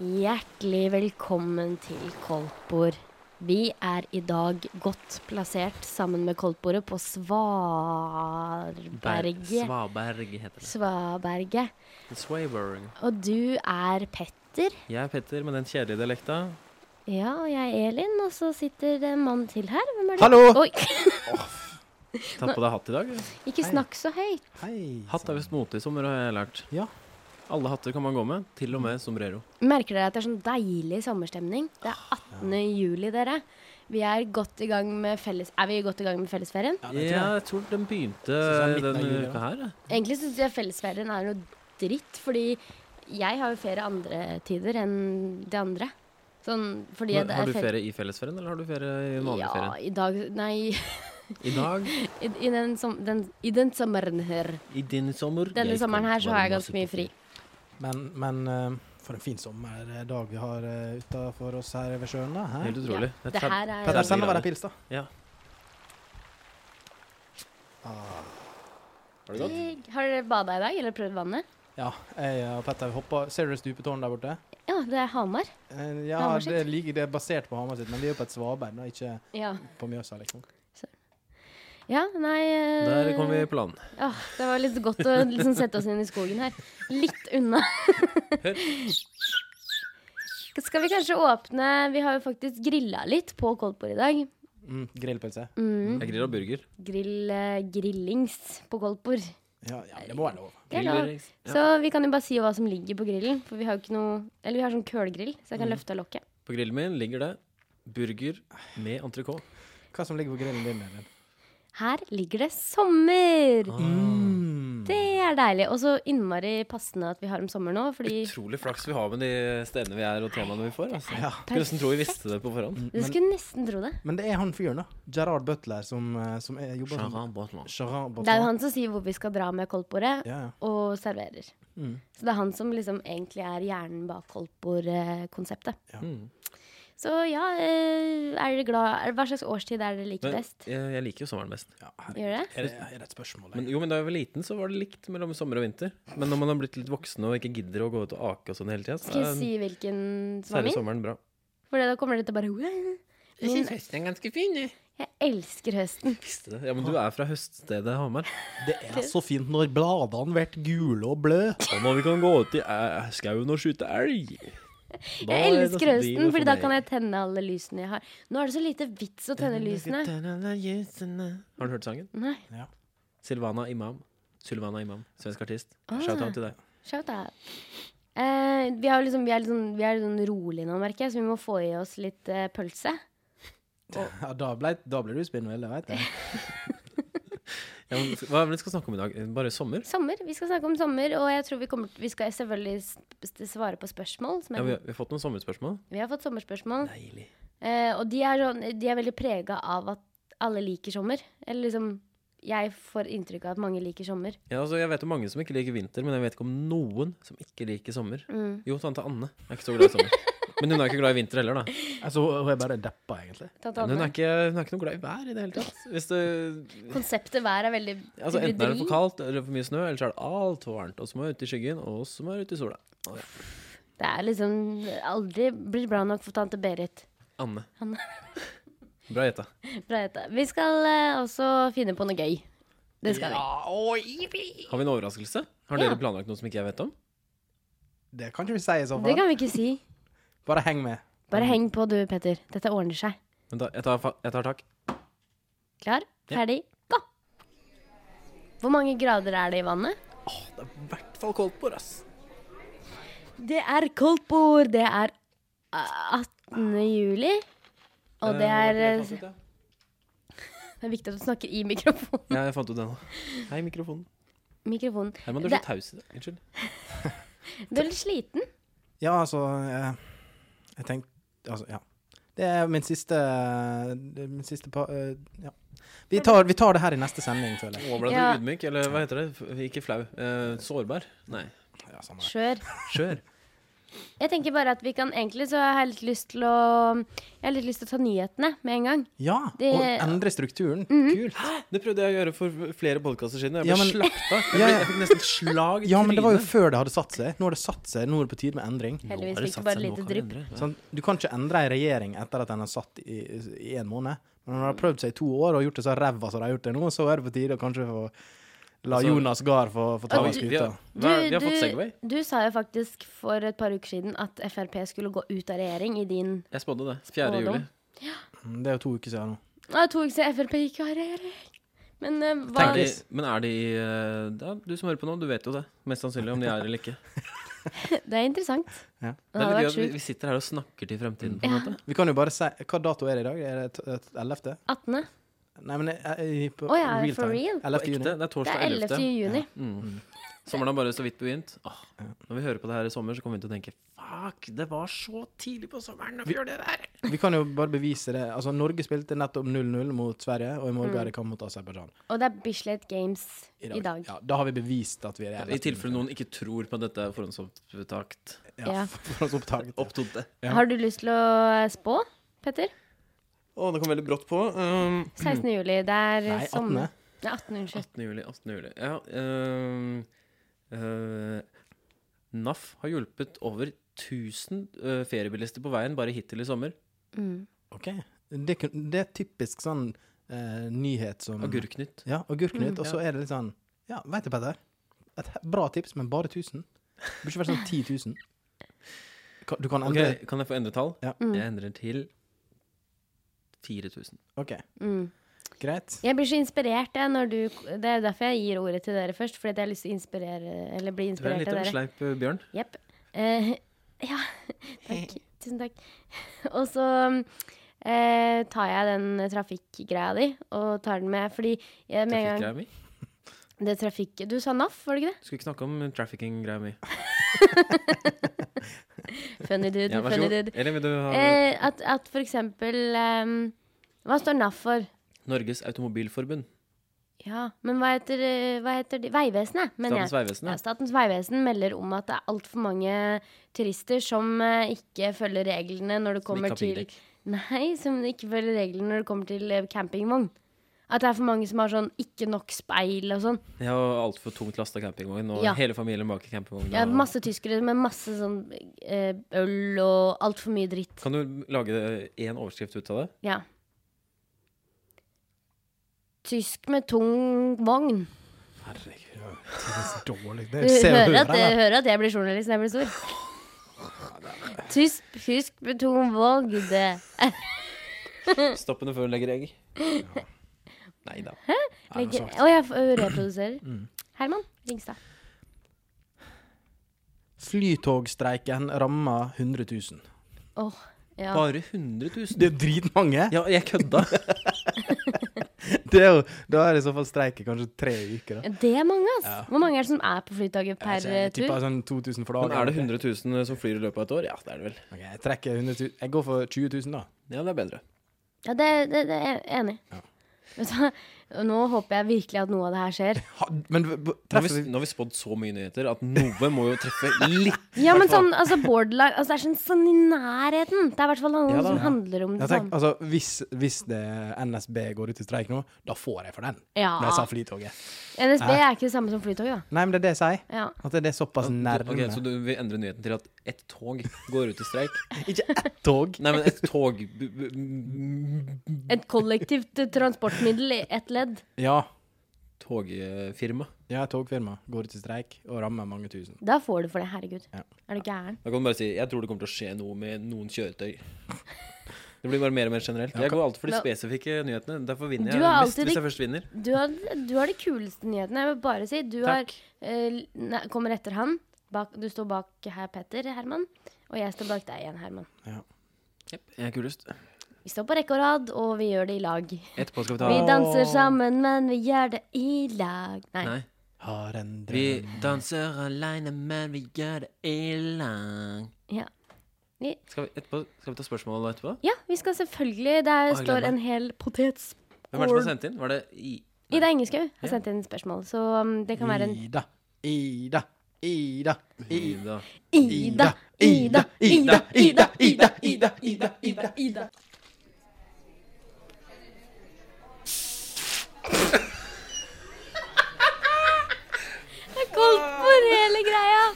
Hjertelig velkommen til Koldtbord. Vi er i dag godt plassert sammen med Koldtbordet på Ber- Svarberget. Svaberg heter det. Svaberget. Swaberg. Og du er Petter. Jeg er Petter med den kjedelige dialekta. Ja, og jeg er Elin. Og så sitter det en mann til her. Hvem er du? Hallo! Oi, Tatt på deg hatt i dag. du. ikke Hei. snakk så høyt. Hei. Hatt er visst mote i sommer, har jeg lært. Ja. Alle hatter kan man gå med, til og Mm. med sombrero. Merker dere at det er sånn deilig sommerstemning? Det er 18. juli, dere. Vi er godt i gang med felles... Er vi godt i gang med fellesferien? Ja, det tror jeg. Jeg tror den begynte Synes jeg er midten av denne juli, uka her. jeg. Egentlig syns jeg fellesferien er noe dritt, fordi jeg har jo ferie andre tider enn de andre. Sånn fordi Men det Har er du ferie i fellesferien, eller har du ferie i vanlig Ja, ferie? i dag Nei, I dag, i, i, den, som, den, i den sommeren her. i din sommer Denne sommeren her så har jeg ganske mye fri. Men, men eh, for en fin sommerdag vi har uh, utafor oss her ved sjøen. da. Hæ? Helt utrolig. Ja, Det er det her tredve- er- Petter, send meg grader. en pils, da. Ja. Ah. Har det gått? Digg. Har dere bada i dag, eller prøvd vannet? Ja, jeg og Petter hoppa. Ser du det stupetårnet der borte? Ja, det er Hamar. Eh, ja, Hamar sitt. det, ligger, det er basert på Hamar sitt, men vi er jo på et svaberg, da, ikke Ja. på Mjøsa, liksom. ja nei eh, Der kom vi i planen. Ja, det var litt godt å liksom sette oss inn i skogen her. Litt unna. Skal vi kanskje åpne Vi har jo faktisk grilla litt på Koldtbord i dag. Mm, grillpølse. Mm. Jeg grilla burger. Grill, eh, grillings på Koldtbord. Ja, ja, det må være lov. Det er Griller, lov. ikke sant? Ja. Så vi kan jo bare si hva som ligger på grillen. For vi har jo ikke noe Eller vi har sånn kølgrill, så jeg kan løfte av lokket. På grillen min ligger det burger med entrecôte. Hva som ligger på grillen din? Elin? Her ligger det sommer! Mm. Det er deilig. Og så innmari passende at vi har om sommer nå, fordi Utrolig flaks vi har med de stedene vi er og temaene vi får. Altså. Ja. Skulle nesten tro vi visste det på forhånd. Du skulle nesten tro det. Men det er han fyren, da. Gerard Butler, som, eh, som er, jobber som Gerard Det er jo han som sier hvor vi skal dra med koldtbordet, Ja, ja. og serverer. Mm. Så det er han som liksom egentlig er hjernen bak koldtbordkonseptet. Mm. Så ja, eh, er dere glad er, Hva slags årstid er dere liker Men best? jeg, jeg liker jo sommeren best. Ja, Gjør det? Er det, er det et spørsmål? Men, jo, men Da jeg var liten, så var det likt mellom sommer og vinter. Men når man har blitt litt voksen og ikke gidder å gå ut og ake og sånn hele tida, så Skal jeg er- si hvilken som er særlig min? sommeren bra. For da kommer dere til å bare «Wow». Min, høsten er ganske fin, jeg. jeg elsker høsten. Visste det. Ja, men du er fra høststedet Hamar. Det er så fint når bladene blir gule og bløde. Og når vi kan gå ut i æ- skauen og skyte elg. Da Jeg er det elsker sånn høsten, livet fordi for da meg. kan jeg tenne alle lysene jeg har. Nå er det så lite vits å tenne lysene. Har du hørt sangen? Nei, Ja. Silvana Imam. Silvana Imam, svensk artist. Ah. Shout out til deg. shout out. Eh, vi, har liksom, vi er litt sånn vi er litt sånn rolig nå, merker jeg, så vi må få i oss litt eh, pølse. da, ble, da ble du spinnvill, det veit jeg. Ja, men, hva er det vi skal snakke om i dag? Bare sommer? Sommer. Vi skal snakke om sommer, og jeg tror vi, kommer, vi skal selvfølgelig s- s- svare på spørsmål. Som Ja, er, vi, har, vi har fått noen sommerspørsmål. Vi har fått sommerspørsmål, Deilig. eh, og de er, sånn, de er veldig prega av at alle liker sommer. Eller liksom Jeg får inntrykk av at mange liker sommer. Ja, altså, jeg vet om mange som ikke liker vinter, men jeg vet ikke om noen som ikke liker sommer. Mm. Jo, tante Anne er ikke så glad i sommer. Men hun er ikke glad i vinter heller, da. Altså, hun er bare deppa, egentlig. Tante Men hun, Anne. er ikke, hun er ikke noe glad i vær i det hele tatt. Hvis det, Konseptet vær er veldig altså, enten er det bryderi. for kaldt eller for mye snø, eller så er det altfor varmt. Og så må jeg ut i skyggen, og så må jeg ut i sola. Å, ja. Det er liksom aldri blir bra nok for tante Berit. Anne. Anne. Bra gjetta. Bra jente. Vi skal eh, også finne på noe gøy. Det skal vi. Har vi en overraskelse? Har Ja. dere planlagt noe som ikke jeg vet om? Det kan ikke vi si i så Det fall. kan vi ikke si. Bare heng med. Bare heng på du, Petter. Dette ordner seg. Vent, da. Jeg tar, fa- jeg tar tak. Klar, ferdig, gå! Hvor mange grader er det i vannet? Det er i hvert fall koldt på oss. Det er koldt bord. Det er eh, 18. juli. Og det er eh, Det er viktig at du snakker i mikrofonen. Ja, jeg fant ut det nå. Hei, mikrofonen. mikrofonen. Herman, du er Det- så taus i dag. Unnskyld. Du er litt sliten. Ja, altså eh, Jeg tenkte Altså, ja. Det er min siste det er Min siste pa... eh, ja. Vi tar, vi tar det her i neste sending, føler jeg. Nå ble du Ja. ydmyk, eller hva heter det? F- Ikke flau. Eh, sårbar? Nei. Ja, samme det. Skjør. Skjør. Jeg tenker bare at vi kan egentlig så har jeg litt lyst til å Jeg har litt lyst til å ta nyhetene med en gang. Ja, Det- Mhm. og endre strukturen. Kult. Det prøvde jeg å gjøre for flere podkaster siden, og jeg Ja, ble men- slakta. Jeg, ble, Ja, ja. jeg fikk nesten slag i Ja, men det var jo trynet. før det hadde satt seg. Nå har det satt seg, nå er det på tide med endring. Heldigvis Nå har det fikk satt bare seg, nå lite kan vi drypp. endre. Sånn, du kan ikke endre ei regjering etter at den har satt i, i en måned. Men når den har prøvd seg i to år og gjort det så ræva som de har gjort det nå, så er det på tide å kanskje få la Altså- Jonas Gahr få, få ta Ja, over vi, vi, skuta. har, hva, vi har fått Segway. du, du sa jo faktisk for et par uker siden at Frp skulle gå ut av regjering i din Jeg spådde det. 4. Spådom. juli. Mm, Det er jo to uker siden nå. Nei, to uker siden Frp gikk av regjering. Men eh, hva Er de, men er de eh, da, Du som hører på nå, du vet jo det. Mest sannsynlig om de er eller ikke. Det er interessant. Ja. Det Det er hadde litt gøy vært at vi, sjukt. vi sitter her og snakker til fremtiden. på en måte Vi kan jo bare si Hva dato er det i dag? Er det t- t- 11.? 18. Nei, men jeg- jeg- på Å ja, real for time. real? 11. Ekte, juni. det er Det torsdag er 11. 11. juni. Sommeren har bare så vidt begynt. Åh, når vi hører på det her i sommer, så kommer vi til å tenke Fuck, det var så tidlig på sommeren å gjøre det der! Vi kan jo bare bevise det. Altså, Norge spilte nettopp 0-0 mot Sverige, og i morgen er det kamp mot Aserbajdsjan. Og det er Bislett Games Mm. i dag. Ja, da har vi bevist at vi er I tilfelle noen ikke tror på at dette er forhåndsopptakt. Ja. Ja, for oss opptaket. Opptatt det. Ja. Har du lyst til å eh, spå, Petter? Å, det kom veldig brått på. Um, 16. juli. Det er eh, Nei, 18. sommer. Nei, 18. Unnskyld. 18. juli, 18. juli. Ja, ehm, eh, NAF har hjulpet over 1000 eh, feriebilister på veien bare hittil i sommer. Mm. Ok. Det, kun- det er typisk sånn eh, nyhet Mm. som Agurknytt. Ja, agurknytt. Og så Ja. er det litt sånn Ja, veit du, Petter. Et he- bra tips, men bare 1000. Det burde ikke vært sånn 10 000. Ka- Du kan Ok, endre kan jeg få endre tall? Ja. Mm. Jeg endrer til 4000. OK, Mm. greit. Jeg blir så inspirert jeg, når du Det er derfor jeg gir ordet til dere først, fordi at jeg har lyst til å inspirere Eller bli Du er inspirert litt av av en dere. sleip eh, bjørn. Jepp. Eh, ja. Takk. Tusen takk. Og så eh, tar jeg den trafikkgreia di og tar den med, fordi jeg, med en gang Trafikkgreia mi. Det trafikk... Du sa NAF, var det ikke det? Du skulle ikke snakke om trafficking-greia mi. Funny dude. Ja, vær så funny god. Sånn. dude. Eller vil du ha Eh, at, at for eksempel ehm, Hva står NAF for? Norges Automobilforbund? Ja, men hva heter, eh, hva heter de? Vegvesenet, mener Statens jeg. vegvesen? Ja, ja. Statens vegvesen melder om at det er altfor mange turister som eh, ikke følger reglene når det Som kommer ikke har til piggdekk. Nei, som ikke følger reglene når det kommer til eh, campingvogn. At det er for mange som har sånn ikke nok speil og sånn. Jeg har altfor tungt lasta campingvogn, og Ja. hele familien bak i campingvogn. Ja, og- masse tyskere med masse sånn eh, øl og altfor mye dritt. Kan du lage én overskrift ut av det? Ja. Tysk med tung vogn. Herregud, det er så dårlig. Du hører at, jeg, hører at jeg blir journalist når jeg blir stor. Tysk, tysk med tung vogn. Mm. Stopp henne før hun legger egg. Nei da. Legger- Å, jeg f- reproduserer. Mm. Herman Ringstad. Flytogstreiken rammer 100 000. Åh, ja. Bare 100 000? Det er dritmange! Ja, jeg kødda. Det er jo, da er det i så fall streik i kanskje tre uker. da. Det er mange, ass. Hvor mange er det som er på Flytoget per eh, Jeg tipper tur? sånn 2000 for Men dagen. er det 100 000 som flyr i løpet av et år? Ja, det er det vel. Ok, jeg trekker 100 000. Jeg går for 20 000, da. Ja, det er bedre. Ja, det, det, det er jeg enig. i. Vet du hva? nå håper jeg virkelig at noe av det her skjer. Ha, men b- b- Nå har treffer vi, vi nå har vi spådd så mye nyheter at noe må jo treffe litt. Ja, men sånn, altså borderline altså, Det er sånn, sånn i nærheten. Det er i hvert fall noe Ja da. som handler om sånn. ja, det tenk, Sånn. samme. altså, hvis, hvis det NSB går ut i streik nå, da får jeg for den. Ja. Når jeg sa Flytoget. NSB er ikke det samme som Flytoget, da. Nei, men det er det jeg sier. Ja. At det er såpass nærme. Ok, Så du vil endre nyheten til at ett tog går ut i streik? Ikke ett tog. Nei, men ett tog b- b- Et kollektivt eh, transportmiddel i ett ledd. Ja. Togfirma. Ja, et togfirma går ut i streik og rammer mange tusen. Da får du for det. Herregud. Ja. Er du gæren? Da kan du bare si jeg tror det kommer til å skje noe med noen kjøretøy. Det blir bare mer og mer generelt. Jeg går alltid for de Men- spesifikke nyhetene. Derfor Du vinner jeg har mest, alltid hvis de- jeg først vinner. Du har, du har de kuleste nyhetene. Jeg vil bare si du har, Takk. eh, nei, kommer etter han. Bak, du står bak her, Petter Herman. Og jeg står bak deg igjen, Herman. Jepp, jeg er kulest. Vi står på rekke og rad, og vi gjør det i lag. Etterpå skal vi Vi ta danser sammen, men vi gjør det i lag. Nei. Nei. Har en Vi drøm danser aleine, men vi gjør det i lang Ja. Vi, Skal vi, etterpå, skal vi ta spørsmål etterpå? ja, vi skal selvfølgelig Der Å, jeg gleder står meg. en hel potets... Hvem er det som har sendt inn? Var det I? Ida Engeskau Ja. har sendt inn spørsmål, så um, det kan være en Ida, Ida, Ida, Ida. Ida. Ida, Ida, Ida, Ida, Ida, Ida, Ida, Ida. Ida. Det er koldtbord, hele greia.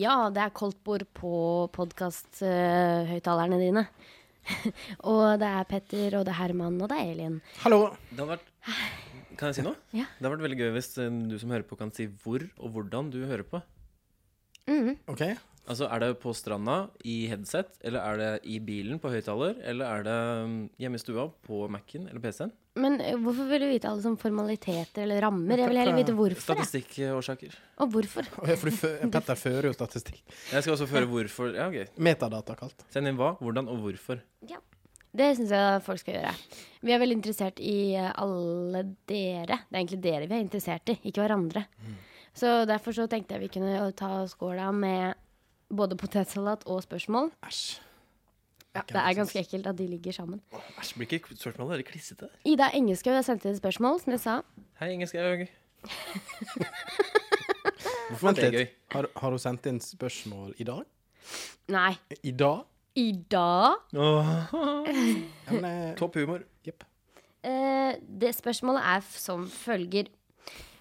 Ja, det er koldtbord på podkasthøyttalerne dine. og det er Petter, og det er Herman, og det er Elin. Hallo. Det hadde vært Kan jeg si noe? Ja. Det hadde vært veldig gøy hvis eh, du som hører på, kan si hvor og hvordan du hører på. Mm. OK. Altså, Er det på stranda i headset, eller er det i bilen på høyttaler, eller er det mm, hjemme i stua på Mac-en eller PC-en? Men eh, hvorfor vil du vite alle sånne formaliteter eller rammer? Jeg vil heller vite hvorfor. Jeg. Statistikkårsaker. Og hvorfor. Å, ja, For du, fø- Petter fører jo statistikk. Jeg skal også føre hvorfor. Ja, ok. Metadata kalt. Send inn hva, hvordan og hvorfor. Det syns jeg folk skal gjøre. Vi er veldig interessert i eh, alle dere. Det er egentlig dere vi er interessert i, ikke hverandre. Så derfor så tenkte jeg vi kunne eh, ta skåla med både potetsalat og spørsmål. Æsj. Det er ganske ekkelt at de ligger sammen. Æsj, blir ikke spørsmålet deres klissete? Ida Engeskaug har sendt inn et spørsmål, som jeg sa. Hei, Ingeskaug. Hvorfor var Vent det gøy? litt. Har, har hun sendt inn spørsmål i dag? Nei. I dag? Ida? Ja, men, eh, Topp humor. jepp. Eh, det spørsmålet er f- som følger.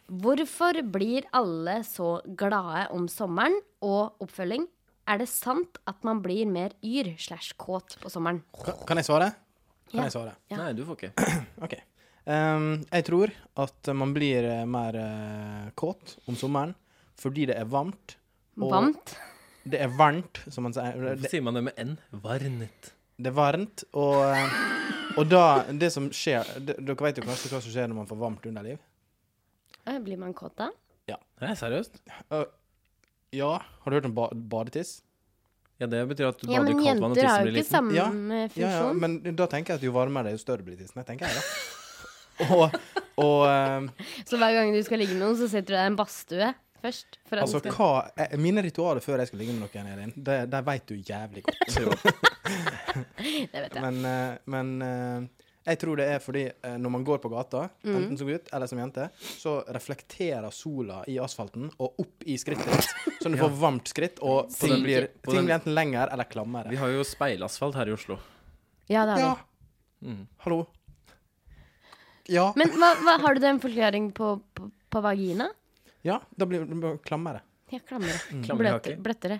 Hvorfor blir alle så glade om sommeren? Og oppfølging. Er det sant at man blir mer yr slash kåt på sommeren? Kan, kan jeg svare? Ja. Kan jeg svare? Ja. Nei, du får ikke. OK. Ehm, jeg tror at man blir eh, mer eh, kåt om sommeren fordi det er varmt. og- Vant? Det er varmt, som man sier. Hvorfor sier man det med N? Varnet. Det er varmt, og, eh, og da Det som skjer d- Dere vet jo kanskje hva som skjer når man får varmt underliv? Eh, Blir man kåt da? Nei, seriøst? Ø, ja. Har du hørt om ba badetiss? Ja, det betyr at du Ja, bader i men kaldt vann og jenter har jo tisser blir ikke liten. samme Ja, funksjon. Ja, ja, men da tenker jeg at jo varmere, jo større blir tissen. Jeg tenker jeg, da. Og, og eh, ø, Så hver gang du skal ligge med noen, så setter du deg i en badstue først? For at altså, den skal... hva eh, Mine ritualer før jeg skulle ligge med noen, Elin, de, de veit du jævlig godt. Det vet jeg. Men, eh, men eh, jeg tror det er fordi eh, når man går på gata, Mm. enten som gutt eller som jente, så reflekterer sola i asfalten og opp i skrittet ditt, så du får varmt skritt, og På ting den- blir, på ting den- blir enten lengre eller klammere. Vi har jo speilasfalt her i Oslo. Ja, det har Ja. vi. Mm. Hallo. Ja. Men hva, hva, har du en forklaring på, på, på vagina? ja, da blir det klammere. Ja, klammere. Klammer Bløte, hake. bløttere.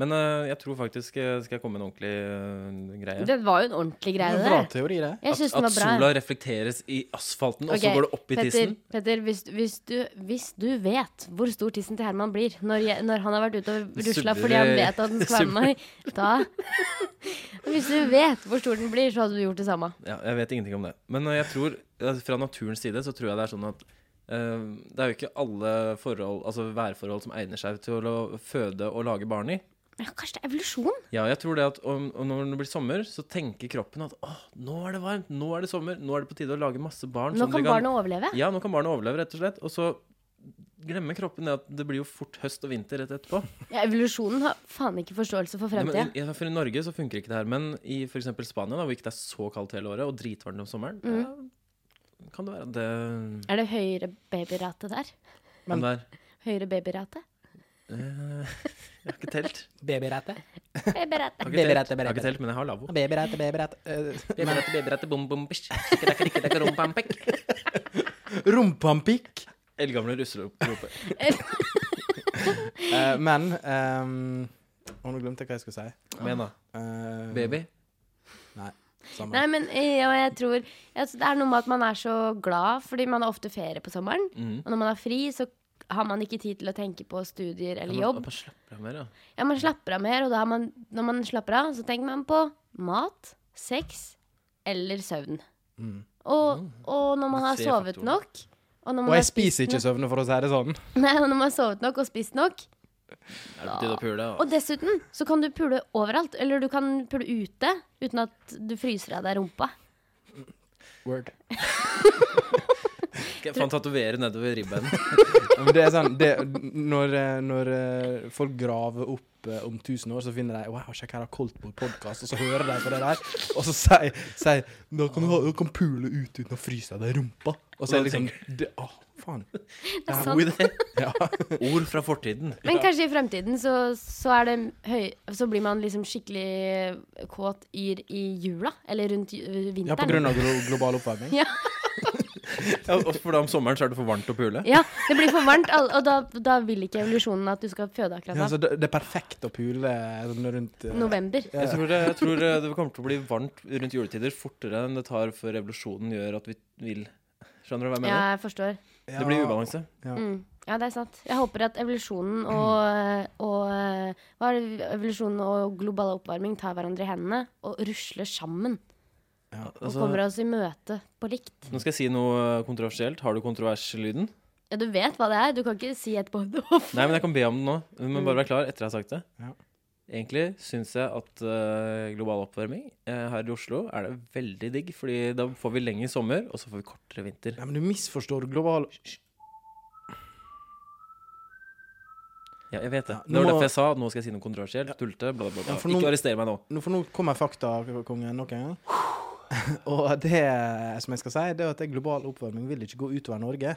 Men eh, jeg tror faktisk eh, skal jeg komme med en ordentlig eh, greie. Det var jo en ordentlig Det greie, er det en bra der. teori, det. Jeg syns At, den at var bra. sola reflekteres i asfalten, og så Ok, går det opp i Petter, tissen. Petter, hvis, hvis, du, hvis du vet hvor stor tissen til Herman blir når, jeg, når han har vært ute og rusla Subber- fordi han vet at den skal være med meg, da Hvis du vet hvor stor den blir, så hadde du gjort det samme. Ja, jeg vet ingenting om det. Men eh, jeg tror, eh, fra naturens side så tror jeg det er sånn at eh, det er jo ikke alle forhold, altså værforhold som egner seg til å føde og lage barn i. Ja, kanskje det er evolusjon? Ja, jeg tror det at om, om når det blir sommer, så tenker kroppen at åh, nå er det varmt, nå er det sommer, nå er det på tide å lage masse barn. Nå som kan dere barnet overleve. Ja, nå kan barnet overleve, rett og slett. Og så glemmer kroppen det at det blir jo fort høst og vinter rett etterpå. Ja, evolusjonen har faen ikke forståelse for Nei, fremtida. men, i- ja, for I Norge så funker ikke det her, men i f.eks. Spania, da, hvor ikke det er så kaldt hele året, og dritvarmt om sommeren, ja, kan det være at det Er det høyere babyrate der? Men der, Høyere babyrate? eh, Jeg har ikke telt. Babyrette. Babyrate. Jeg har ikke Beberette, telt, jeg har ikke telt men jeg har lavvo. Babyrette, babyrette. Beberette, beberette, bom, bom, bish. Skidakadikkidakk, rompampekk. Eh, Rumpampikk. Eldgamle russeroper. Eh, men ehm, Å, nå glemte jeg hva jeg skulle si. Kom igjen, da. Eh, Baby. Nei. Samme. Nei, men eh, og jeg tror altså, Det er noe med at man er så glad, fordi man har ofte ferie på sommeren. Mhm. Og når man har fri, så har man ikke tid til å tenke på studier eller Man, jobb. man slapper av mer, ja. Ja, Man slapper av mer, og da har man, når man slapper av, så tenker man på mat, sex eller søvn. Og, og når man har Tre sovet faktorer. nok og, når man Og har jeg spiser spist ikke søvne, for å si det sånn. nok- Nei, og når man har sovet nok og spist nok. Er det på tide å pule? ja? Og dessuten så kan du pule overalt. Eller du kan pule ute uten at du fryser av deg rumpa. Word. Jeg fant tatovere nedover ribbeinen. Ja, men Det er sånn det, når, eh, når eh, folk graver opp opp eh, om tusen år, så finner de Wow, sjekk her har Coldboard podkast, og så hører de på det der, og så sier sier, Nå kan du, ha, du kan pule ut uten å fryse deg i rumpa. Og så er det liksom det, Å, faen. Det er God sant. idé. Ja. Ord fra fortiden. Sånn. Men kanskje i fremtiden så, så, er det høy, så blir man liksom skikkelig kåt yr i jula, eller rundt ju- vinteren. ja, på grunn av glo global oppvarming. Ja. Ja, og for da om sommeren så er det for varmt å pule. Ja, det blir for varmt, all- og da, da vil ikke evolusjonen at du skal føde akkurat Ja, da. så det, det er perfekt å pule sånn rundt eh, November. ja. Jeg tror, det, jeg tror eh, det kommer til å bli varmt rundt juletider fortere enn det tar før revolusjonen gjør at vi vil. Skjønner du hva jeg mener? Ja, jeg forstår. Det blir ubalanse. Mm. Ja, det er sant. Jeg håper at evolusjonen og, og eh, Hva er det? Evolusjonen og global oppvarming tar hverandre i hendene og rusler sammen. Og Altså, kommer oss i møte på likt. nå skal jeg si noe eh, kontroversielt. Har du kontroverslyden? Ja, du vet hva det er. Du kan ikke si etterpå. Det var f- Nei, men jeg kan be om den nå. Men Mm. bare vær klar etter jeg har sagt det. Ja. Egentlig syns jeg at eh, global oppvarming eh, her i Oslo er det veldig digg. Fordi da får vi lengre sommer, og så får vi kortere vinter. Nei, men du misforstår global Ja, jeg vet det. Ja, Det var nå må- derfor jeg sa at nå skal jeg si noe kontroversielt. Tulte, bla, bla, bla. Ja, for Ikke noen- arrester meg nå. Nå- For nå kommer faktakongen nok en gang. Og det som jeg skal si, det er at det global oppvarming vil ikke gå utover Norge.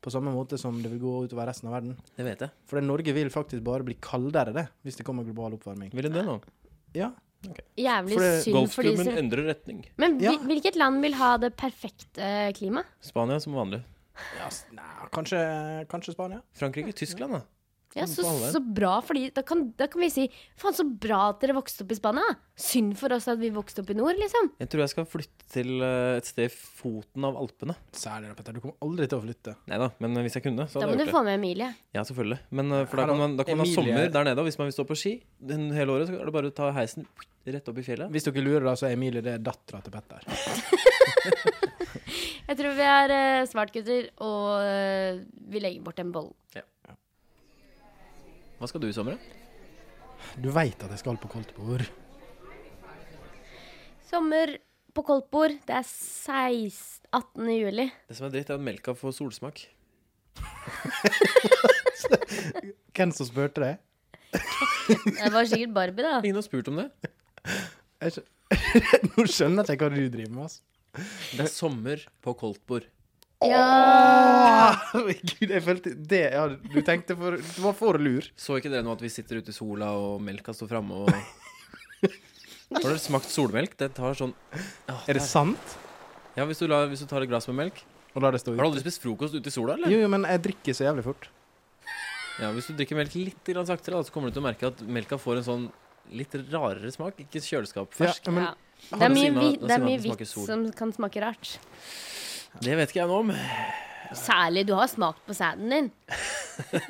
På samme måte som det vil gå utover resten av verden. Det vet jeg. For det- Norge vil faktisk bare bli kaldere det, hvis det kommer global oppvarming. Vil den det nå? Ja, jævlig For det- synd for de Golfklubben som endrer retning. Men hvil- Ja. hvilket land vil ha det perfekte eh, klimaet? Spania som vanlig. ja s- nei, kanskje, kanskje Spania? Frankrike, Tyskland, da. Ja, så, på alle. så bra, fordi da kan, da kan vi si Faen, så bra at dere vokste opp i Spania. Synd for oss at vi vokste opp i nord, liksom. Jeg tror jeg skal flytte til eh, et sted i foten av Alpene. Særlig, da, Petter. Du kommer aldri til å flytte. Nei da, men hvis jeg kunne, så Da hadde må jeg du gjort det. få med Emilie. Ja, selvfølgelig. Men eh, for da Hallo, kan man, da kan man ha Emilie. sommer der nede, og hvis man vil stå på ski den hele året, så er det bare å ta heisen rett opp i fjellet. Hvis dere lurer, da, så er Emilie det dattera til Petter. Jeg tror vi er eh, smart gutter, og eh, vi legger bort en boll. Hva skal du i sommer, da? Du veit at jeg skal på koldtbord. Sommer på koldtbord. Det er 16, 18. juli. Det som er dritt, er at melka får solsmak. Hvem som spurte deg? Det var sikkert Barbie, da. Ingen har spurt om det. Jeg skjø- Nå skjønner jeg ikke hva du driver med, altså. Det er sommer på koldtbord. Ja. Herregud, Ah, jeg følte det ja, Du tenkte for Du var for lur. Så ikke dere nå at vi sitter ute i sola, og melka står framme og Har dere smakt solmelk? Det tar sånn Er det sant? Ja, hvis du, la, hvis du tar et glass med melk Og la det stå Har du ut. aldri spist frokost ute i sola, eller? Jo, jo, men jeg drikker så jævlig fort. Ja, Hvis du drikker melk litt grann saktere, da, så kommer du til å merke at melka får en sånn litt rarere smak. Ikke kjøleskapfersk. Ja, men, Ja. Det er Da mye, sier man- vi, da det sier er man mye at det smaker vits sol. som kan smake rart. Det vet ikke jeg noe om. Særlig. Du har smakt på sæden din.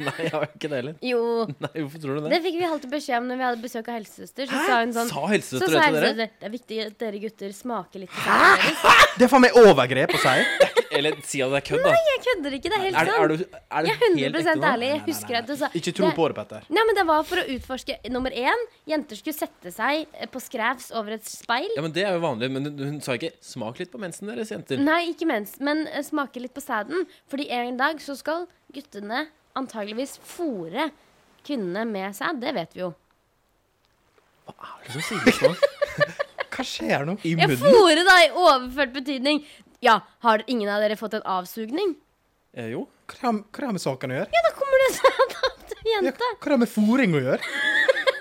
Nei, jeg har ikke det heller. Jo. Nei, hvorfor tror du det? Det fikk vi alltid beskjed om når vi hadde besøk av helsesøster. Så sa hun sånn Sa Så sa helsesøster det jeg sånn, til dere? det, det er viktig at dere gutter smaker litt på sæden deres. Det er faen meg overgrep å si. Eller si at det er kødd, da. Jeg kødder ikke, det er sånn- helt Er, er sant. du, er du Jeg er helt 100 ekte nå? ærlig. Jeg husker at du sa Ikke tro det- på det, Petter. Nei, men Det var for å utforske nummer én. Jenter skulle sette seg eh, på skrevs over et speil. Ja, men Det er jo vanlig, men hun hun sa ikke 'smak litt på mensen deres, jenter'. Nei, ikke mens, men eh, smake litt på sæden. Fordi en dag så skal guttene antageligvis fòre kvinnene med sæd. Det vet vi jo. Så sier du sånn. Hva skjer nå? I Ja, munnen? fòre, da, i overført betydning. Ja, har ingen av dere fått en avsugning? Eh, jo. Hva har hva har det med saken å gjøre? Ja, da kommer det sæd av til Ja, jenta. hva har det med fôring å gjøre?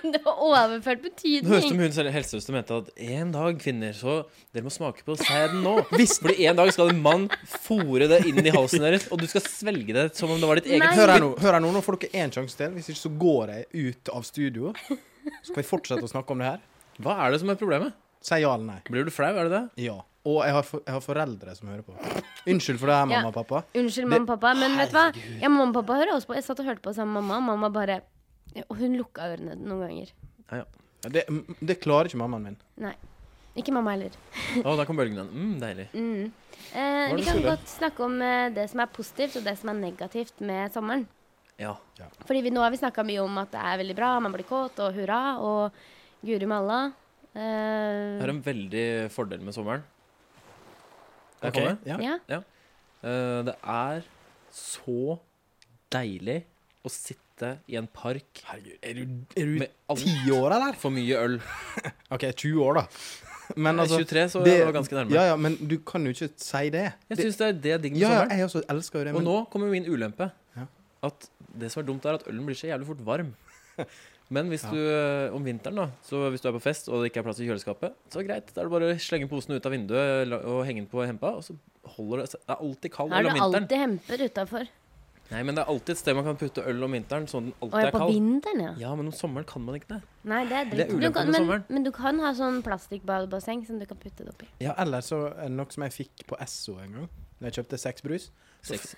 Det var overført Det høres ut betydning. som hun selv- helsesøster mente at en dag, kvinner, så dere må smake på sæden nå. Fordi en dag skal en mann fòre det inn i halsen deres, og du skal svelge det som om det var ditt eget. Nei. Hør her nå, hør her nå, nå får dere én sjanse til. Hvis ikke så går jeg ut av studio. Så kan vi fortsette å snakke om det her. Hva er det som er problemet? Si ja eller nei. Blir du flau, er det det? Ja. Og jeg har, for, jeg har foreldre som hører på. Unnskyld for det her, mamma og pappa. Unnskyld, mamma og pappa, men vet du hva? Ja, mamma og pappa hører også på. Jeg satt og hørte på sammen med mamma, og mamma bare Og hun lukka ørene noen ganger. Nei, ja. Ja, Det, det klarer ikke mammaen min. Nei. Ikke mamma heller. Å, der kom bølgen igjen. Mm, deilig. Eh, Hva vi er det kan skulle? godt snakke om eh, det som er positivt, og det som er negativt med sommeren. Ja. Fordi vi, nå har vi snakka mye om at det er veldig bra, man blir kåt, og hurra, og guri malla. Det Eh, er en veldig fordel med sommeren. Kan jeg Ok, komme? ja. ja. Eh, det er så deilig å å sitte i en park Herregud, er du, er med du alt ti år, eller? for mye øl. OK, 20 år, da. Men altså 23, så jeg var ganske nærme. Ja, ja, men du kan jo ikke si det. Jeg Det- syns det er det digg med ja, ja, sommeren. jeg også elsker jo det. Og men- nå kommer min ulempe. Ja. At det som er dumt, er at ølen blir så jævlig fort varm. Men hvis Ja. du eh, om vinteren, da, så hvis du er på fest og det ikke er plass i kjøleskapet, så greit. Da er det bare å slenge posen ut av vinduet la- og henge den på hempa, og så holder det seg. Det er alltid kald Da er øl det om vinteren. alltid hemper utafor. Nei, men det er alltid et sted man kan putte øl om vinteren, sånn at den Og alltid jeg er på kald. vinteren, ja. Ja, men om sommeren kan man ikke det. Nei, det er Det er dritt. Du ulempen kan, med men, sommeren. men du kan ha sånn plastikkbadebasseng som du kan putte det oppi. Ja, eller så er det noe som jeg fikk på Esso en gang, da jeg kjøpte seks brus. Sex.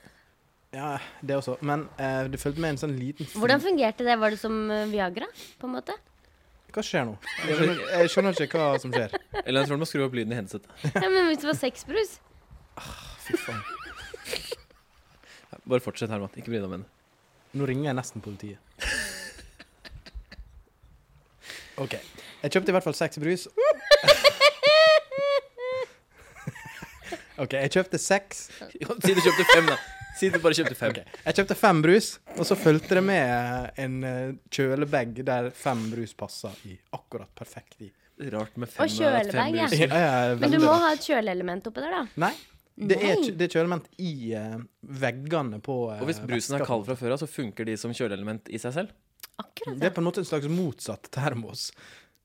Ja, det også. Men eh, det fulgte med en sånn liten fri- Hvordan fungerte det? Var det som eh, Viagra, på en måte? Hva skjer nå? Jeg skjønner, jeg skjønner ikke hva som skjer. Eller jeg tror du må skru opp lyden i headsetet. Ja, men hvis det var sexbrus Fy faen. Bare fortsett, Herman. Ikke bry deg om henne. Nå ringer jeg nesten politiet. OK. Jeg kjøpte i hvert fall seks brus. OK, jeg kjøpte seks. Si du kjøpte fem, da. Si du bare kjøpte fem. Ok, Jeg kjøpte fem brus, og så fulgte det med en eh, kjølebag der fem brus passer i. Akkurat perfekt i. Rart med fem. Og at fem kjølebag, ja. brus- Jeg er Men du veldig- må ha et kjøleelement oppi der, da. Nei. Det Nei. er, kj- det er kjølement i eh, veggene på eh, Og hvis brusen er veska. kald fra før av, så funker de som kjøleelement i seg selv? Akkurat. Det er på en måte en slags motsatt termos.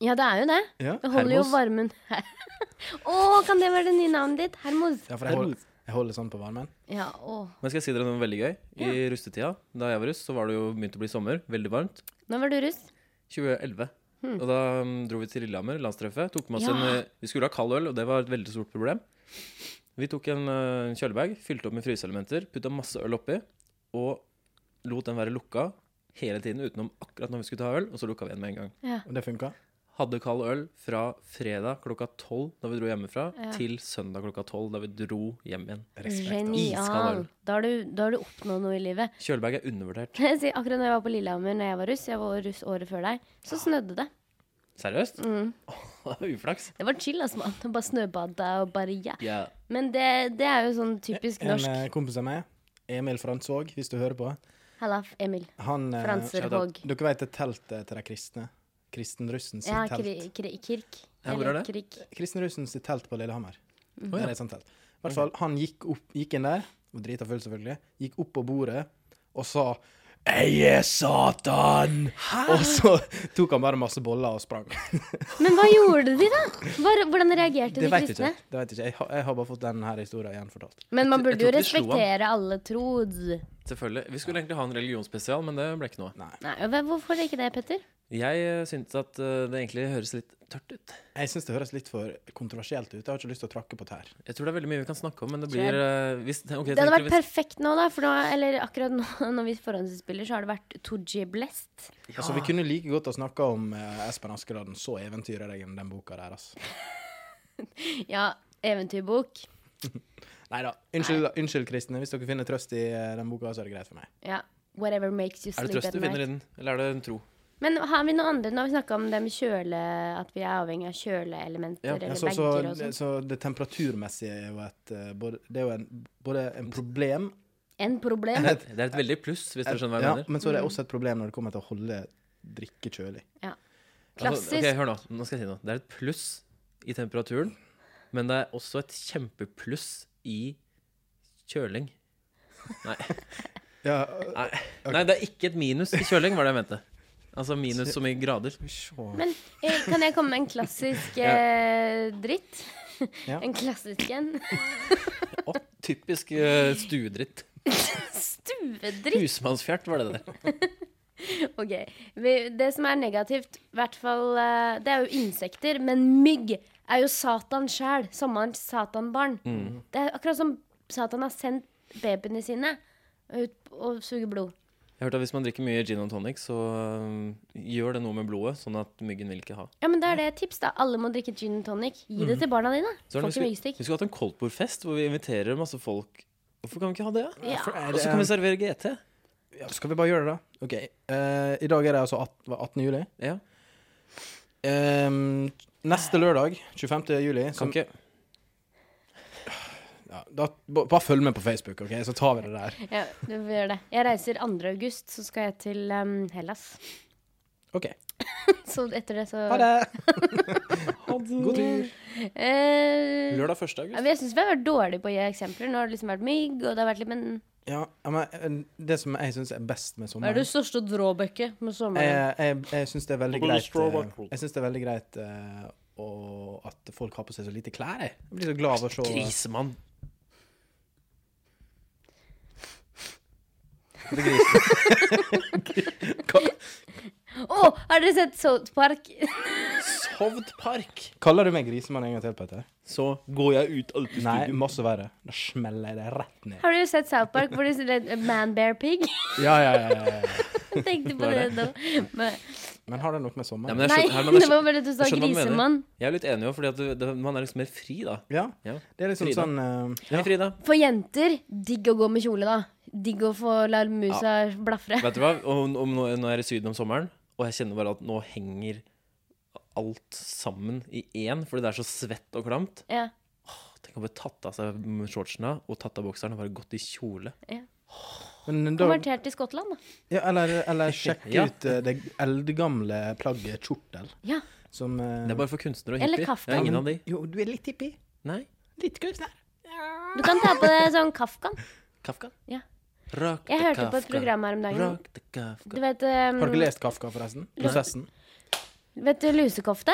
Ja, det er jo det. Ja, Det holder jo Hermos. varmen her. Å, kan det være det nye navnet ditt? Hermos. ja for jeg holder, jeg holder sånn på varmen. Ja, å. Men skal jeg si dere noe veldig gøy? I rustetida, da jeg var russ, så var det jo begynt å bli sommer. Veldig varmt. Nå var du russ. 2011. Og da mm, dro vi til Lillehammer, landstreffet. Tok med oss Hmm. Ja. en, eh, vi skulle ha kald øl, og det var et veldig stort problem. Vi tok en eh, kjølebag, fylte opp med fryseelementer, putta masse øl oppi, og lot den være lukka hele tiden utenom akkurat når vi skulle ta øl, og så lukka vi igjen med en gang. Ja. Og det funka. Hadde kald øl fra fredag klokka tolv da vi dro hjemmefra, Ja. til søndag klokka tolv da vi dro hjem igjen. Respekt. Iskald Genial. øl. Da har, du, da har du oppnådd noe i livet. Kjølebag er undervurdert. Jeg sier, Akkurat når jeg var på Lillehammer Når jeg var russ, jeg var russ året før deg, så snødde det. Seriøst? Mm. Uflaks. Det var chill, ass, mann. Bare snøbada og bare ja. Ja. Men det, det er jo sånn typisk En norsk. eh, kompis av meg, Emil Fransvåg, hvis du hører på, Hallaf, Emil. han eh, Franserhog. Dere vet det teltet til de kristne? Kristenrussen sitt Ja, telt. kri, kri, kirk. Ja, hvor Eller er det? Krik. Kristenrussen sitt telt på Lillehammer. Å, ja. Der er et sånt telt. I hvert fall, han gikk, opp, gikk inn der, og drita full selvfølgelig, gikk opp på bordet og sa jeg er Satan! Og så tok han bare masse boller og sprang. Men hva gjorde de, da? Hva- hvordan reagerte Det de vet jeg kristne? ikke. Det vet jeg, ikke. Jeg, har, jeg har bare fått den her historien gjenfortalt. Men man Jeg- jeg burde jo tror ikke de slo han. respektere alle tros. Selvfølgelig. Vi skulle egentlig ha en religionsspesial, men det ble ikke noe. Nei, hva- Hvorfor ikke det, Petter? Jeg eh, syntes at eh, det egentlig høres litt tørt ut. Jeg syns det høres litt for kontroversielt ut. Jeg har ikke lyst til å trakke på tær. Jeg tror det er veldig mye vi kan snakke om, men det blir eh, hvis, ok, jeg Det hadde tenker vært perfekt nå, da. For nå, eller akkurat nå når vi forhåndsspiller, så har det vært Tooji Blest. Altså, vi kunne like godt ha snakka om eh, Espen Askeladden. Så eventyrer jeg den boka der, altså. Ja, eventyrbok. Neida. Unnskyld, unnskyld, kristne. Hvis dere finner trøst i eh, den boka, så er det greit for meg. Ja. Whatever makes you hvis, er det sleep at trøst du finner night. i den, eller er det en tro? Men har vi noe andre? Nå har vi snakka om det med kjøle At vi er avhengig av kjøleelementer Ja, eller Ja, så, så, bager og det- sånn. så det temperaturmessige er jo et eh, både, Det er jo en, både en problem En problem. Det er, det er et veldig pluss, hvis dere skjønner hva jeg ja, mener. Men Mm. så er det også et problem når det kommer til å holde drikke kjølig. Ja. Altså, Klassisk. ok, hør nå. Nå skal jeg si noe. Det er et pluss i temperaturen, men det er også et kjempepluss i kjøling. Nei. Ja, Nei. Nei, det er ikke et minus i kjøling, var det jeg mente. Altså minus som i grader. Men eh, kan jeg komme med en klassisk eh, dritt? Ja. En klassisk en. Å, typisk eh, stuedritt. Stuedritt! Husmannsfjert var det der. Ok. Vi- Det som er negativt, i hvert fall eh, Det er jo insekter, men mygg er jo Satan sjæl. Sommerens satanbarn. Mm. Det er akkurat som Satan har sendt babyene sine ut og suger blod. Jeg hørte at hvis man drikker mye gin og tonic, så øhm, gjør det noe med blodet, sånn at myggen vil ikke ha. Ja, men da er det et tips, da. Alle må drikke gin and tonic. Gi det til barna dine. Mm. Så Får vi, ikke skulle, vi myggstikk. skulle hatt en Coldport-fest hvor vi inviterer masse folk. Hvorfor kan vi ikke ha det? Ja? Ja. Og så kan vi servere GT. ja, skal vi bare gjøre det, da? OK. eh, I dag er det altså at, hva, 18. juli. Ja, Ehm, neste lørdag, 25. juli, kan som ikke. ja, da, ba- bare følg med på Facebook, ok? så tar vi det der. Ja, du får gjøre det. Jeg reiser 2. august, så skal jeg til em, Hellas. OK. Så etter det så Ha det! God tur. Eh, Lørdag 1. ja, august. men jeg syns vi har vært dårlige på å gi eksempler. Nå har det liksom vært mygg, og det har vært litt Men Ja, ja, men eh, det som jeg syns er best med hva er sommeren det største drawbacket med Eh, sommeren? Jeg, Eh, jeg, jeg syns det er veldig Double greit straw eh, buckle. Jeg syns det er veldig greit eh, å- at folk har på seg så lite klær. Jeg, jeg blir så glad av å se Grisemann. Det gris. Å, har dere sett South Park? Sovd Park. Kaller du meg grisemann en gang til, Petter? Så går jeg ut alltid i Nei, studio. masse verre. Da smeller jeg det rett ned. Har du sett South Park hvor de sier Man Bear Pig? Ja, ja, ja, ja, ja. Jeg tenkte på Hva det er nå. Men, Men har det noe med Nei, sommeren? men jeg nei, skjønner, her, men det jeg, var bare at du sa jeg skjønner hva du mener. grisemann. skjønner, jeg er litt enig òg, for man er liksom mer fri da. Ja, Ja. det er liksom Frida. sånn eh, Hei, Frida. For jenter, digg å gå med kjole, da. Digg å få la musa blafre. Vet du hva? Om, om, nå- når jeg er i Syden om sommeren, og jeg kjenner bare at nå henger alt sammen i én fordi det er så svett og klamt Ja. Tenk å bli tatt av seg shortsene og tatt av bokseren og bare gått i kjole. men da, Konvertert til Skottland, da. ja, eller, eller sjekk Ja. ut eh, det eldgamle plagget kjortel. Ja. Som eh, Det er bare for kunstnere og Eller hippier. kaffe. Jeg er ingen av de. Jo, du er litt hippie. Nei. Litt kunstner. Du kan ta på deg sånn kafkan. Kafka. Ja. Rak Jeg de hørte på et Kafka. program her om dagen. Rak de Kafka. Du vet, um, Har du ikke lest Kafka, forresten? Prosessen? vet du lusekofte?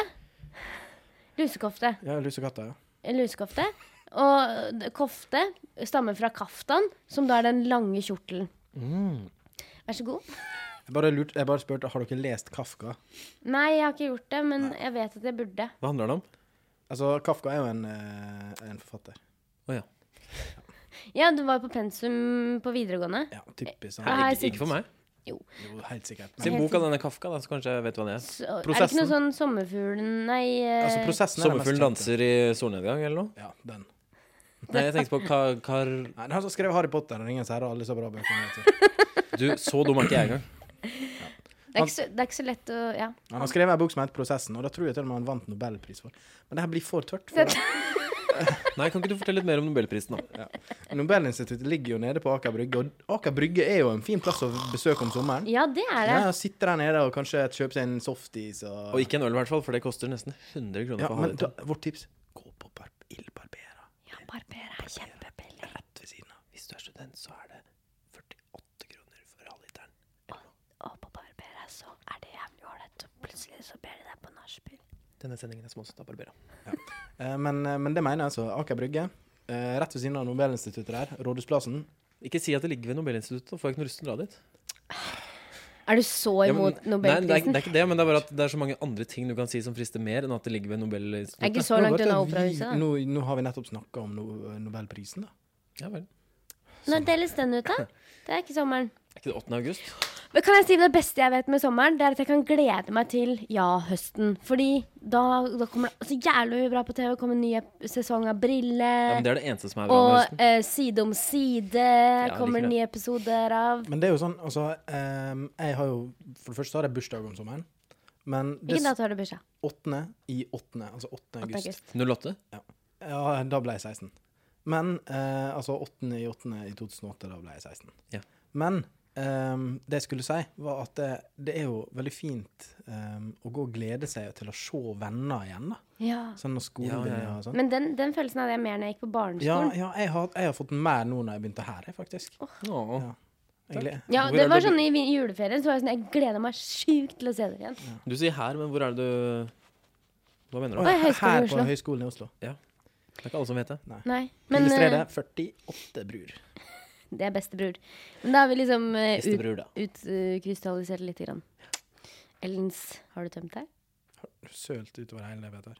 Lusekofte. Ja, Lusekatta, ja. En lusekofte. Og det- kofte stammer fra kaftan, som da er den lange kjortelen. Vær så god. Jeg bare, lurte, jeg bare spurte, har dere lest Kafka? Nei, jeg har ikke gjort det, men jeg vet at jeg burde. Hva handler det om? Altså, Kafka er jo en, eh, en forfatter. Å ja. Ja, du var på pensum på videregående. Ja, typisk. Her Sånn. er Ikke, ikke for meg. Jo, helt sikkert. Si Men, Helt bok av denne Kafka, da, så kanskje jeg vet hva det er. Så, er det ikke noe sånn sommerfuglen Nei. eh, altså, prosessen er den mest Sommerfuglen kjente. danser i solnedgang, eller noe? Ja, den. Nei, jeg tenkte på ka, kar... Nei, han som skrev Harry Potter og Ringens herre og alle så bra bøkene. vet du. Du, så dum er ikke jeg engang. det, er ikke så, det er ikke så lett å Ja. Han har skrevet en bok som heter Prosessen, og da tror jeg til og med han vant Nobelpris for. Men det her blir for tørt. For Nei, kan ikke du fortelle litt mer om Nobelprisen, da? Nobelinstituttet ligger jo nede på Aker Brygge, og Aker Brygge er jo en fin plass å besøke om sommeren. ja, det er det. Ja, sitter der nede og kanskje kjøper seg en softis og, Og ikke en øl, i hvert fall, for det koster nesten 100 kroner Ja, for men halvliteren. da, vårt tips gå på bar- ildbarberer Ja, Barbera er kjempebillig. rett ved siden av. Hvis du er student, så er det 48 kroner for halvliteren. Og på Barbera så er det jævlig ålreit. og Plutselig så ber de deg på nachspiel. Denne sendingen er sponset av Barbera. Eh, Men, eh, men det mener jeg altså. Aker Brygge, eh, rett ved siden av Nobelinstituttet der, Rådhusplassen. Ikke si at det ligger ved Nobelinstituttet, da får jeg ikke noe lyst til å dra dit. Er du så Ja, men- imot Nei, det er, ikke- Nobelprisen? det er ikke det, men det er bare at det er så mange andre ting du kan si som frister mer enn at det ligger ved Jeg er Nobelinstituttet. ikke så langt Nå har unna vi vært- operahuset, da. Nå, nå har vi nettopp snakka om no, eh, Nobelprisen, da. Ja vel. Når deles den ut, da? Det er ikke sommeren. Er ikke det 8. august? Men kan jeg si Det beste jeg vet med sommeren, Det er at jeg kan glede meg til ja-høsten. Fordi da, da kommer det så jævlig mye bra på TV. Kommer en ny ep- sesong av Ja, Brille. men Det er det eneste som er bra Eh, med og høsten. eh, Side om side kommer liker det. nye episoder av. Men det er jo sånn, altså ehm, Jeg har jo For det første har jeg bursdag om sommeren. Men det Hvilken dato har du bursdag? 8. i 8. Altså 8. 8. august. august. 08? Ja, da ble jeg 16. Men eh, altså 8. i 8. i 2008, da ble jeg 16. Ja. Men ehm, det jeg skulle si, var at det, det er jo veldig fint ehm, å gå og glede seg til å se venner igjen, da. Ja. Sånn når skolen Ja, ja, ja. begynner og sånn. Men den, den følelsen hadde jeg mer når jeg gikk på Ja, barneskolen. ja jeg, har, jeg har fått mer nå når jeg begynte her, jeg, faktisk. Åh. Jeg gled- Ja, Hvor det er var det sånn i vi- juleferien. Så var jeg sånn, jeg gleder meg sjukt til å se dere igjen. Du sier her, men hvor er det du Hva mener Å, du? Oi, ja, Høgskolen i her Oslo. på Høgskolen i Oslo. Det er ikke alle som vet det. Nei, men Pillestredet eh, 48 brur. det er bestebror. Men da har vi liksom eh, ut, Bestebror, da. utkrystallisert lite grann. Ellens, har du tømt deg? Sølt utover hele det, Peter.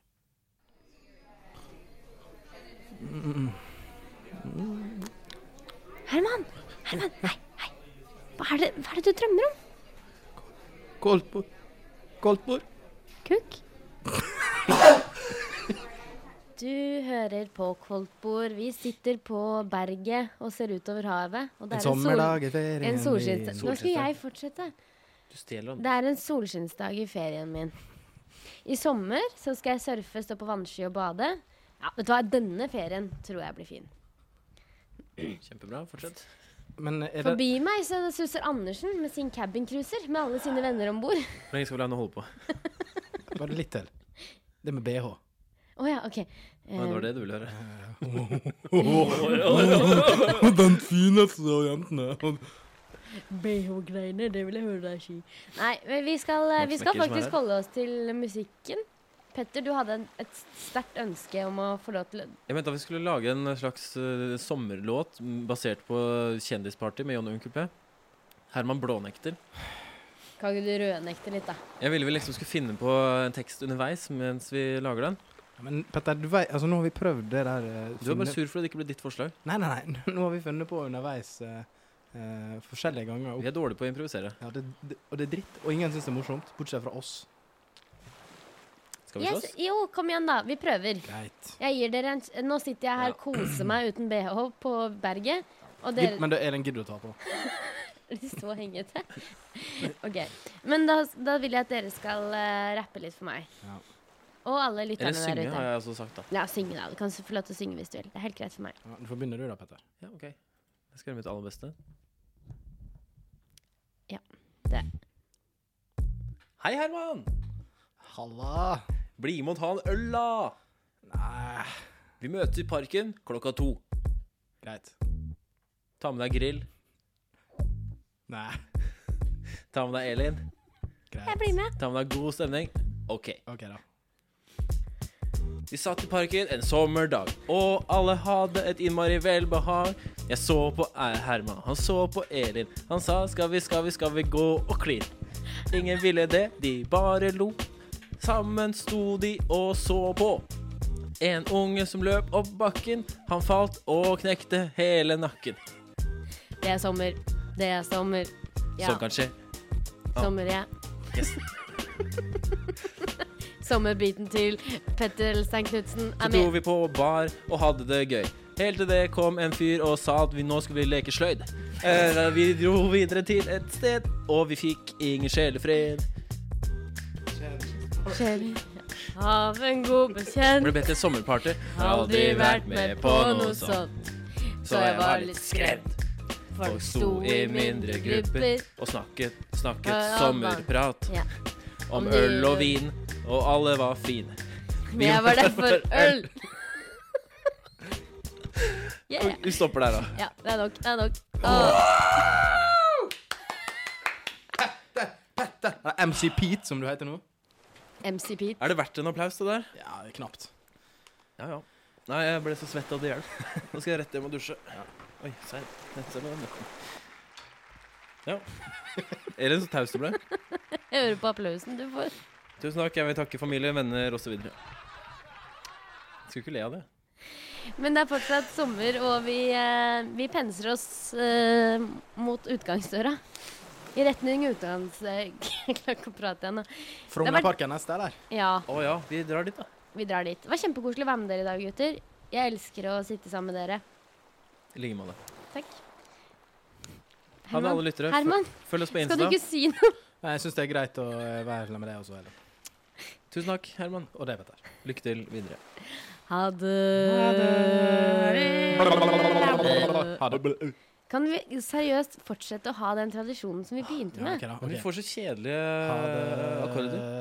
Herman! Herman! Hei, hei. Hva er det, hva er det du drømmer om? Koldtbord. Koldtbord. Kuk? Du hører på Koltbord. Vi sitter på berget og ser utover havet. Og det er En en, sol, sommerdag i ferien. en solskinnsdag. Nå skal Solskinnsdag. jeg fortsette. Du stjeler den. Det er en solskinnsdag i ferien min. I sommer så skal jeg surfe, stå på vannski og bade. Ja, vet du hva, Denne ferien tror jeg blir fin. Kjempebra. Fortsett. Men er det, Forbi meg så suser Andersen med sin cabincruiser med alle sine venner om bord. Hvor lenge skal vi la henne holde på? bare litt til. Det med BH. Å ja, OK. Å, det Eh, var det du ville høre. Den fineste av jentene. BH-greiene, det vil jeg høre deg si. Nei, men vi skal, eh, vi skal smekker som er faktisk her. holde oss til musikken. Petter, du hadde en- et sterkt ønske om å få lov til å- Jeg mente at vi skulle lage en slags eh, sommerlåt mm, basert på Kjendisparty med Jonny og Onkel P. Herman blånekter. Kan ikke du rødnekte litt, da? Jeg ville vi liksom skulle finne på en tekst underveis mens vi lager den. Men Petter, du vet, altså, nå har vi prøvd det der eh, Du er bare finne- sur for at det ikke ble ditt forslag. Nei, nei, nei. Nå har vi funnet på underveis eh, eh, forskjellige ganger. Vi Opp. er dårlige på å improvisere. Ja, det, det, og det er dritt, og ingen syns det er morsomt, bortsett fra oss. Skal vi slåss? Yes, jo, kom igjen, da. Vi prøver. Greit. Jeg gir dere en Nå sitter jeg her, Ja. koser meg uten BH på berget, og dere Gidd- Men det er den gidder du å ta på. De så hengete. OK. Men da, da vil jeg at dere skal eh, rappe litt for meg. Ja. Og alle Eller lytterne der synge, ute. har jeg også sagt, da. Ja, synge, da. Du kan få lov til å synge hvis du vil. Det er helt greit for meg. Ja, du får begynne du da, Petter. Ja, ok. Jeg skal gjøre mitt aller beste. Ja, det. Hei, Herman! Halla! Bli med og ta en øl, da! Nei, Vi møtes i parken klokka to. greit. Ta med deg grill. Nei, Ta med deg Elin. greit. Jeg blir med. Ta med deg god stemning. Ok. OK, da. Vi satt i parken en sommerdag, og alle hadde et innmari velbehag. Jeg så på Herman, han så på Elin. Han sa 'skal vi, skal vi, skal vi gå og kline'? Ingen ville det, de bare lo. Sammen sto de og så på. En unge som løp opp bakken. Han falt og knekte hele nakken. Det er sommer. Det er sommer. Ja, Sånn kan skje. sommer, ja. Yes. Sommerbiten til Petter Elstein Knutsen Så er dro med. vi på bar og hadde det gøy. Helt til det kom en fyr og sa at vi nå skulle vi leke sløyd. Eh, Vi dro videre til et sted, og vi fikk ingen sjelefred. Kjell. Av en god Ble bekjent. bedt til et sommerparty. Aldri vært med på noe sånt. så jeg var litt skremt. Folk sto i mindre grupper og snakket, snakket sommerprat Ja. om øl og vin, og alle var fine. Men jeg var der for øl. Yeah. Vi stopper der, da. Ja, det er nok. Det er nok. Åh, Er det MC Pete, som du heter nå? MC Pete. Er det verdt en applaus, det der? Ja, det er knapt. Ja, ja. Nei, jeg ble så svett at det hjelp. Nå skal jeg rett hjem og dusje. Oi, serr. Se på den. Ja. Elin, så taus du ble. Jeg hører på applausen du får. Tusen takk. Jeg vil takke familie, venner osv. Skulle ikke le av det. Men det er fortsatt sommer, og vi, eh, vi penser oss eh, mot utgangsdøra. I retning utgangs... Jeg klarer ikke å prate igjen nå. Frognerparken neste, eller? Ja, Å ja, vi drar dit, da. vi drar dit. Det var kjempekoselig å være med dere i dag, gutter. Jeg elsker å sitte sammen med dere. I like måte. Takk. Ha det, alle lyttere. Herman, Følg oss på skal du Insta. ikke si noe? Nei, jeg syns det er greit å eh, være sammen med deg også, Ellen. Tusen takk, Herman. Og det, Petter. Lykke til videre. Ha det. Ha det. Kan vi seriøst fortsette å ha den tradisjonen som vi begynte Ja, med? ok da. Men ok. Vi får så kjedelige Ha det. akkorder.